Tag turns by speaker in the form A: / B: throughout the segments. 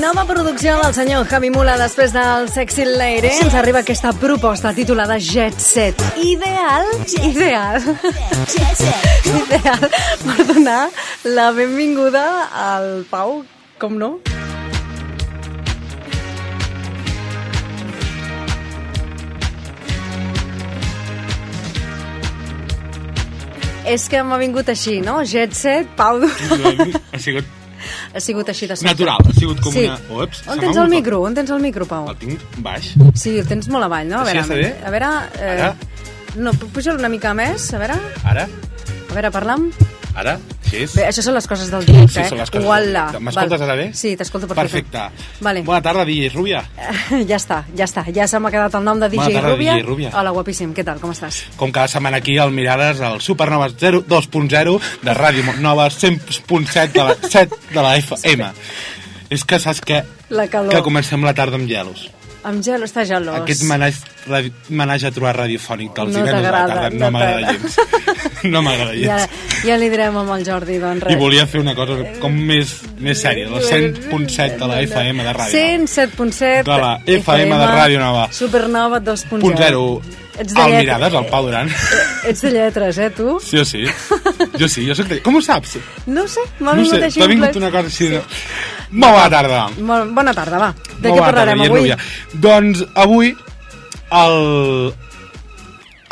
A: Nova producció del senyor Javi Mula després del Sexy Lady. Ens arriba aquesta proposta titulada Jet Set. Ideal, ideal, ideal per donar la benvinguda al Pau, com no? És que m'ha vingut així, no? Jet Set, Pau Durant.
B: Ha sigut
A: Ha sigut així de sobte.
B: natural, ha sigut com una... Ups, se
A: On
B: m'ha
A: tens el
B: hagut-
A: micro? On tens el micro, Pau?
B: El tinc baix.
A: Sí, el tens molt avall, no? A
B: Així
A: veure,
B: està bé?
A: a veure... Eh,
B: Ara?
A: no, pu- puja una mica més, a veure...
B: Ara?
A: A veure, parla'm.
B: Ara? Així és?
A: Bé, això són les coses del directe,
B: Sí,
A: eh?
B: són les coses del
A: Uala.
B: directe. M'escoltes
A: Val.
B: ara bé?
A: Sí, t'escolto perfecte.
B: Perfecte.
A: Vale.
B: Bona tarda, DJ Rubia.
A: Ja està, ja està. Ja se m'ha quedat el nom de DJ
B: Bona tarda,
A: Rubia.
B: DJ Rubia.
A: Hola, guapíssim. Què tal, com estàs?
B: Com cada setmana aquí al Mirades, al Supernova 2.0 de Ràdio Nova 100.7 de la, 7 de la FM. És que saps que,
A: La calor.
B: que comencem la tarda amb gelos.
A: Amb gelo està gelós.
B: Aquest menaix, radi- menaix a trobar radiofònic dels
A: No
B: divendres a la
A: t'agrada,
B: tarda
A: no
B: no m'agrada gens. No m'agrada gens.
A: Ja, ja li direm amb el Jordi, doncs
B: I
A: res.
B: volia fer una cosa com més, més sèria, la 100.7 de la FM de ràdio.
A: 107.7
B: De la FM de Ràdio Nova.
A: Supernova 2.0.
B: Punt zero.
A: Ets de
B: Al
A: lletres.
B: Mirades, al Pau Duran.
A: Ets de lletres, eh, tu?
B: Sí o sí. Jo sí, jo soc de... Com ho saps?
A: No ho sé, m'ha
B: No ho
A: vingut
B: sé,
A: així.
B: t'ha
A: un
B: vingut
A: flash.
B: una cosa així de... Molt bona tarda.
A: Molt, bona tarda, va. De
B: Molt
A: què
B: bona
A: parlarem
B: tarda,
A: avui?
B: Guillem Rubia. Doncs avui el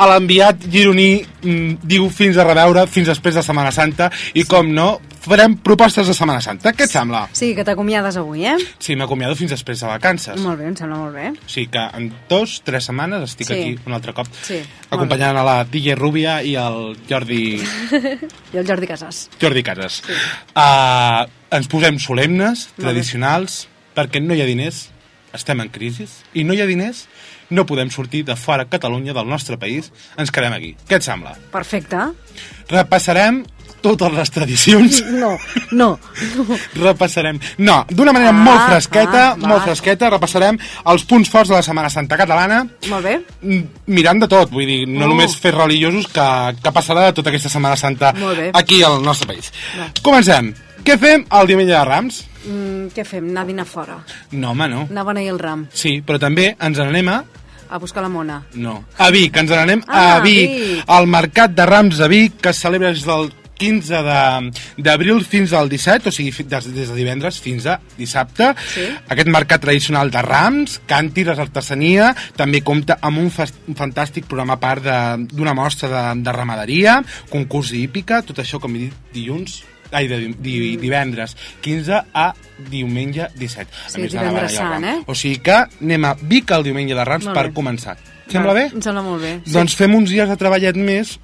B: a l'enviat gironí mm, diu fins a reveure, fins després de Setmana Santa i com no, farem propostes de Setmana Santa. Què et sembla?
A: Sí, que t'acomiades avui, eh?
B: Sí, m'acomiado fins després de vacances.
A: Molt bé, em sembla molt bé.
B: O sigui que en dos, tres setmanes estic
A: Sí.
B: aquí un altre cop
A: Sí,
B: acompanyant a la DJ Rubia i el Jordi,
A: I el Jordi Casas.
B: Jordi Casas. Sí. Uh, ens posem solemnes,
A: Molt bé.
B: tradicionals, perquè no hi ha diners, estem en crisi, i no hi ha diners, no podem sortir de fora Catalunya, del nostre país, ens quedem aquí. Què et sembla?
A: Perfecte.
B: Repassarem totes les tradicions
A: No, no.
B: repassarem... No, d'una manera
A: Ah,
B: molt fresqueta,
A: ah,
B: molt
A: va.
B: fresqueta, repassarem els punts forts de la Setmana Santa catalana,
A: Molt bé.
B: m- mirant de tot, vull dir, no
A: Oh.
B: només fets religiosos que, que passarà de tota aquesta Setmana Santa
A: Molt bé.
B: aquí al nostre país. Comencem. Què fem el diumenge de Rams?
A: Mm, què fem? Anar a dinar fora.
B: No, home, no.
A: Anar a beneir el ram.
B: Sí, però també ens n'anem a...
A: A buscar la mona.
B: No. A Vic, ens n'anem
A: Ah,
B: a Vic,
A: Vic.
B: al Mercat de Rams de Vic, que es celebra des del 15 de- d'abril fins al 17, o sigui, fi- des, des de divendres fins a dissabte.
A: Sí.
B: Aquest mercat tradicional de rams, càntires, artesania, també compta amb un, fas- un fantàstic programa a part de- d'una mostra de, de ramaderia, concurs hípica, tot això, com he dit, dilluns, ai, de, di- di, divendres 15 a diumenge 17.
A: Sí,
B: a de la
A: divendres
B: Baralla del
A: Sant,
B: Ram.
A: eh?
B: O sigui que anem a Vic el diumenge de Rams
A: Molt
B: per
A: bé.
B: començar. Sembla bé?
A: Em sembla molt bé. Sí.
B: Doncs fem uns dies de treballet més,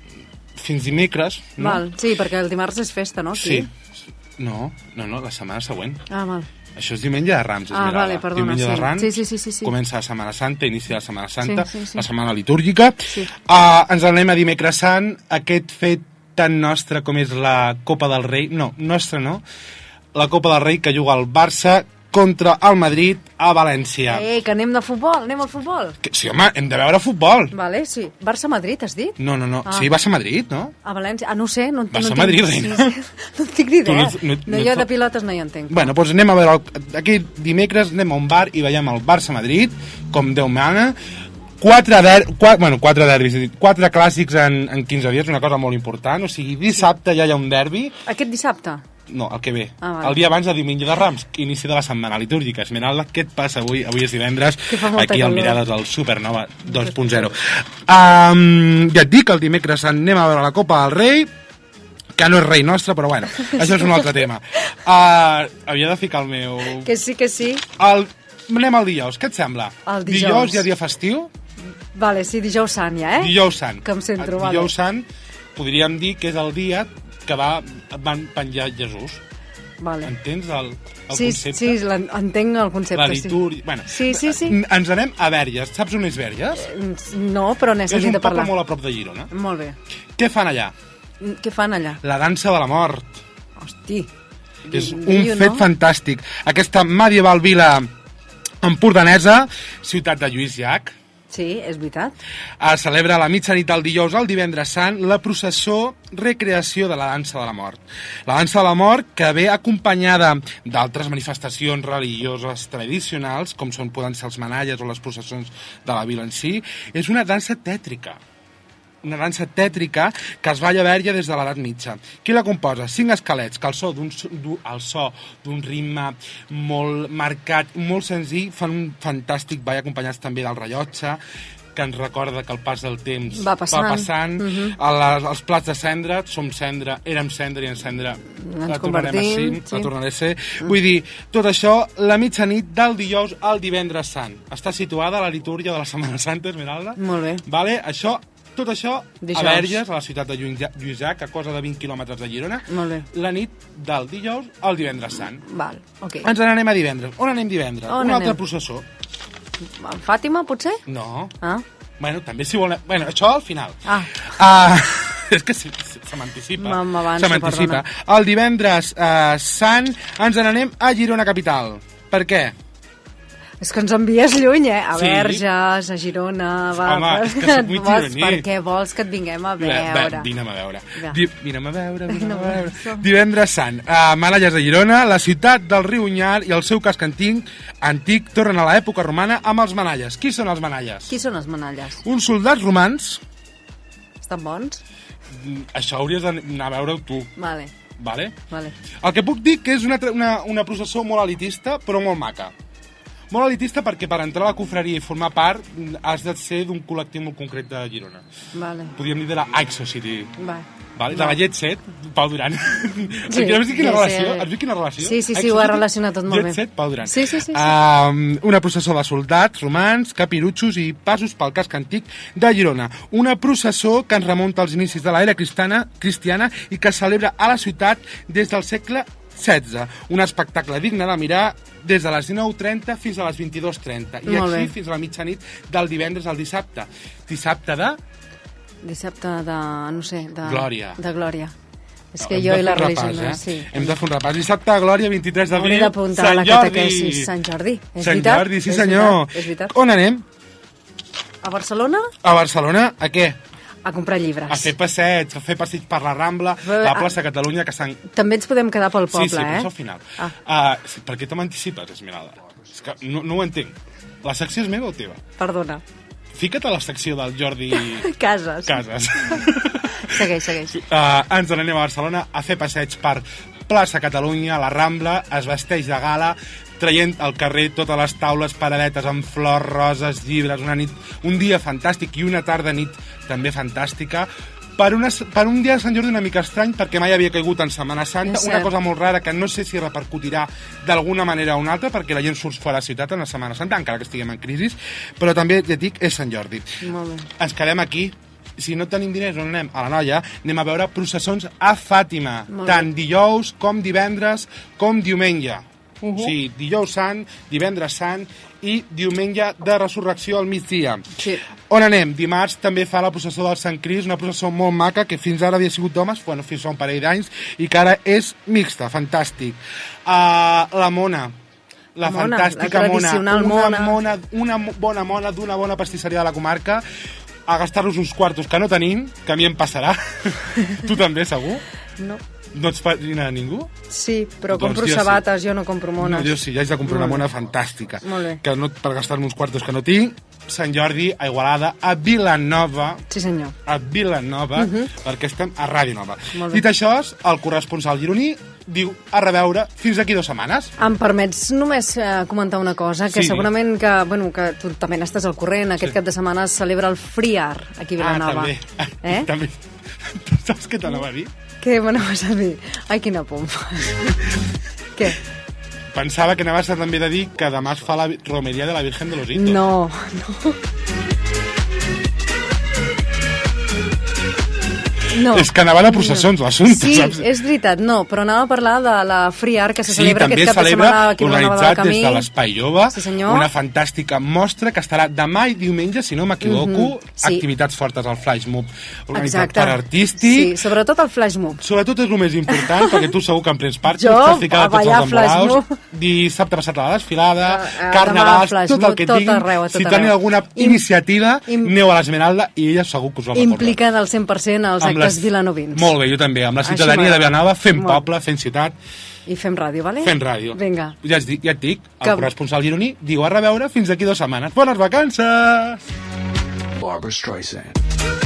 B: fins dimecres, no?
A: Val. Sí, perquè el dimarts és festa, no?
B: Sí.
A: Aquí?
B: No, no, no, la setmana següent.
A: Ah, val.
B: Això és diumenge de
A: Ah,
B: Rams, Esmeralda.
A: vale, perdona,
B: Diumenge de
A: sí.
B: Rams,
A: Sí, sí, sí, sí, sí.
B: comença la Setmana Santa, inici de la Setmana Santa,
A: Sí, sí, sí.
B: la setmana litúrgica.
A: Sí.
B: Ah, ens anem a dimecres sant, aquest fet tan nostre com és la Copa del Rei, no, nostra no, la Copa del Rei que juga el Barça contra el Madrid a València.
A: Ei, Eh, que anem de futbol, anem al futbol.
B: Que, sí, home, hem de veure futbol.
A: Vale, sí. Barça-Madrid, has dit?
B: No, no, no,
A: Mm. Ah.
B: sí, vas a Madrid, no?
A: A València? Ah, no ho sé. No, no
B: Barça
A: en
B: Madrid,
A: tinc...
B: reina.
A: Sí, sí. No en tinc ni
B: Tu
A: idea.
B: no ets- no ets-
A: no,
B: no
A: jo
B: ets-
A: de pilotes no hi entenc.
B: Bueno, doncs anem a veure... El, aquí dimecres anem a un bar i veiem el Barça-Madrid, com Déu mana. Quatre, der, quatre, bueno, quatre derbis, he dit, quatre clàssics en, en 15 dies, una cosa molt important. O sigui, dissabte ja hi ha un derbi.
A: Aquest dissabte?
B: No, el que ve.
A: Ah, vale.
B: El dia abans de diumenge de Rams, inici de la setmana litúrgica. Esmeralda, què et passa avui? Avui és divendres,
A: Que fa molta
B: aquí al
A: calor.
B: Mirades al Supernova 2.0. Um, ja et dic, el dimecres anem a veure la Copa del Rei, que no és rei nostre, però bueno, això és un altre tema. Uh, havia de ficar el meu...
A: Que sí, que sí.
B: El... Anem al dijous, què et sembla?
A: El dijous.
B: Dijous hi ha dia festiu,
A: Vale, sí, dijous sant ja, eh?
B: dijous sant.
A: Que em centro,
B: El
A: vale.
B: Dijous sant, podríem dir que és el dia que va, van penjar Jesús.
A: Vale.
B: Entens el, el
A: sí,
B: concepte?
A: sí, l'en- entenc el concepte.
B: la litúrgia... Bueno,
A: Sí, sí, sí.
B: n- Ens anem a Verges. Saps on és Verges?
A: sí. No, però n'he
B: És un
A: sentit de
B: poble
A: parlar.
B: molt a prop de Girona.
A: Molt bé.
B: Què fan allà?
A: Mm, Què fan allà?
B: La dansa de la mort.
A: Hosti.
B: És un
A: Diu,
B: fet
A: no?
B: fantàstic. Aquesta medieval vila empordanesa, ciutat de Lluís Llach,
A: Sí, és veritat.
B: Es celebra a la mitjanit del dijous al divendres sant la processó recreació de la dansa de la mort. La dansa de la mort que ve acompanyada d'altres manifestacions religioses tradicionals, com són poden ser els manalles o les processons de la vila en si, és una dansa tètrica una dansa tètrica que es balla a Bèrgia des de l'edat mitja. Qui la composa? Cinc esquelets, que el so d'un du- el so d'un ritme molt marcat, molt senzill, fan un fantàstic ball acompanyats també del rellotge, que ens recorda que el pas del temps
A: Va passant. Mhm.
B: va passant. a les, els plats de cendra, som cendra, érem cendra i en cendra
A: Ens
B: la tornarem a ser,
A: convertim, sí.
B: la tornaré a ser. Vull dir, tot això, la mitjanit del dijous al divendres sant. Està situada a la litúrgia de la Setmana Santa, Esmeralda.
A: Molt bé.
B: Vale, això, tot això
A: Dijous.
B: a Verges, a la ciutat de Lluïsa- Lluïsac, a cosa de 20 quilòmetres de Girona,
A: Molt bé.
B: la nit del dijous al divendres sant.
A: Val, ok.
B: Ens n'anem a divendres. On anem divendres?
A: On
B: Un altre
A: anem?
B: processó.
A: En Fàtima, potser?
B: No.
A: Ah,
B: Bueno, també si volen... Bueno, això al final.
A: Ah.
B: Ah, és que se, se, se m'anticipa.
A: Me- m'avanço,
B: Se m'anticipa. El divendres eh, sant ens n'anem a Girona Capital. Per què?
A: és que ens envies lluny, eh? A
B: Sí.
A: Verges, a Girona... Va,
B: Home,
A: per-
B: és que sóc muy
A: vols-
B: gironí.
A: Per què vols que et vinguem a
B: Bé, bé,
A: veure?
B: Vine'm a veure.
A: Va.
B: Di vine'm a veure, vine'm a
A: Vine'm a
B: veure.
A: veure.
B: Divendres sant, a Manalles de Girona, la ciutat del riu Unyar i el seu casc antic, antic tornen a l'època romana amb els Manalles. Qui són els Manalles?
A: Qui són els manalles?
B: Uns soldats romans...
A: Estan bons?
B: Mm, Això hauries d'anar a veure tu,
A: Vale,
B: vale?
A: vale.
B: El que puc dir que és una, tra- una, una processó molt elitista, però molt maca. Molt elitista perquè per entrar a la confraria i formar part mm, has de ser d'un col·lectiu molt concret de Girona.
A: Vale.
B: Podríem dir de la High Society.
A: Va.
B: Vale? De la Jet Set, Pau Duran. Sí, has vist
A: sí,
B: quina relació?
A: sí.
B: Has vist quina relació?
A: Sí, sí, sí,
B: High
A: ho ha
B: Society,
A: relacionat tot molt
B: Jet
A: bé.
B: Set, Pau Duran.
A: Sí, sí, sí, sí.
B: Um, una processó de soldats, romans, capirutxos i passos pel casc antic de Girona. Una processó que ens remunta als inicis de l'era cristana, cristiana i que es celebra a la ciutat des del segle XVI. Un espectacle digne de mirar des de les 19.30 fins a les 22.30 i
A: Molt
B: així
A: bé.
B: fins a la mitjanit del divendres al dissabte. Dissabte de...
A: Dissabte de... no sé, de...
B: Glòria.
A: De Glòria. És que
B: Hem
A: jo i
B: de fer
A: la
B: un
A: religió...
B: repàs,
A: no,
B: eh?
A: Sí.
B: Hem de fer un repàs. Dissabte, Glòria, 23 d'abril,
A: Hauré d'apuntar a la catequesis. Sant Jordi. És
B: Sant
A: veritat?
B: Jordi, sí
A: És
B: senyor. Oh.
A: veritat, és veritat.
B: On anem?
A: A Barcelona
B: A Barcelona, a què?
A: a comprar llibres.
B: A fer passeig, a fer passeig per la Rambla,
A: Però,
B: la
A: ah,
B: plaça Catalunya, que s'han...
A: També ens podem quedar pel poble,
B: sí, sí,
A: eh?
B: però això al final.
A: Ah.
B: Ah. Uh, per què te m'anticipes, Esmeralda? És que no, no ho entenc. La secció és meva o teva?
A: Perdona.
B: Fica't a la secció del Jordi
A: Cases.
B: Casas.
A: Segueix, segueix.
B: Uh, ens n'anem a Barcelona a fer passeig per plaça Catalunya, la Rambla, es vesteix de gala, traient al carrer totes les taules paradetes amb flors, roses, llibres, una nit, un dia fantàstic i una tarda nit també fantàstica. Per, una, per un dia de Sant Jordi una mica estrany, perquè mai havia caigut en Setmana Santa,
A: És
B: una
A: cert.
B: cosa molt rara que no sé si repercutirà d'alguna manera o una altra, perquè la gent surt fora de la ciutat en la Setmana Santa, encara que estiguem en crisi, però també, ja et dic, és Sant Jordi
A: Molt bé.
B: ens quedem aquí si no tenim diners on anem? A la noia anem a veure processons a Fàtima,
A: Molt bé.
B: tant dijous com divendres com diumenge. Uh
A: Mhm.
B: -huh. O sigui, dijous sant, divendres sant i diumenge de resurrecció al migdia.
A: Sí.
B: On anem? Dimarts també fa la processó del Sant Cris, una processó molt maca que fins ara havia sigut d'homes, bueno, fins a un parell d'anys, i que ara és mixta, fantàstic. Uh, la mona,
A: Mona, la
B: la fantàstica mona,
A: tradicional
B: una
A: mona.
B: mona, una mo- bona mona d'una bona pastisseria de la comarca, a gastar-nos uns quartos que no tenim, que a mi em passarà, tu també, segur,
A: No.
B: no ets padrina de ningú?
A: Sí, però
B: Doncs
A: compro
B: jo sí.
A: sabates, jo no compro mones.
B: No, jo sí, ja haig de comprar una
A: Molt bé.
B: mona fantàstica,
A: Molt bé.
B: que no, per gastar-me uns quartos que no tinc, Sant Jordi, a Igualada, a Vilanova,
A: Sí, senyor.
B: a Vilanova, perquè estem a Ràdio Nova.
A: Mhm. Molt bé.
B: Dit això, el corresponsal gironí diu a reveure fins d'aquí dues setmanes. Ah,
A: Em permets només eh, comentar una cosa, que
B: Sí.
A: segurament que, bueno, que tu també n'estàs al corrent, aquest cap de setmana es celebra el Friar, aquí a Vilanova.
B: Ah, també.
A: Eh?
B: també. Saps què t'anava a dir?
A: Què m'anaves a dir? Ai, quina pompa. Què?
B: Pensava que anaves a també de dir que demà es fa la vi- romeria de la Virgen de los Hitos.
A: No, no. No.
B: És que anava de processons, l'assumpte,
A: Sí,
B: saps?
A: és veritat, no, però anava a parlar de la Free Art que se
B: Sí,
A: celebra
B: també
A: aquest
B: es
A: cap de
B: celebra
A: setmana aquí a Vilanova del
B: organitzat
A: Camí.
B: des de l'Espai Jove,
A: Sí, senyor.
B: una fantàstica mostra que estarà demà i diumenge, si no m'equivoco,
A: Mhm. sí.
B: activitats fortes al Flash Mob organitzat
A: Exacte.
B: per artístic.
A: Sí, sobretot el flash mob.
B: Sobretot és el més important, perquè tu segur que en prens part,
A: Jo,
B: tu estàs ficada
A: a
B: tots
A: ballar
B: els embalaus,
A: flash
B: dissabte passat a la desfilada,
A: Ah, ah,
B: carnavals,
A: demà a flash
B: tot el que et
A: mob, tot
B: diguin.
A: arreu, a tot
B: si teniu
A: arreu.
B: alguna
A: Im-
B: iniciativa,
A: im-
B: neu a l'Esmeralda i ella segur que us ho recorda.
A: Implica del 100% els
B: Amb
A: actes
B: les-
A: vilanovins.
B: Molt bé, jo també, amb la
A: Això
B: ciutadania de
A: m'agrada.
B: Vilanova, fent
A: Molt.
B: poble, fent ciutat,
A: I fem ràdio, vale?
B: fent ràdio.
A: Vinga.
B: Ja, et dic, ja et dic, el
A: Que-
B: corresponsal gironí diu a reveure fins d'aquí dues setmanes. Bones vacances!
C: Barbara Streisand.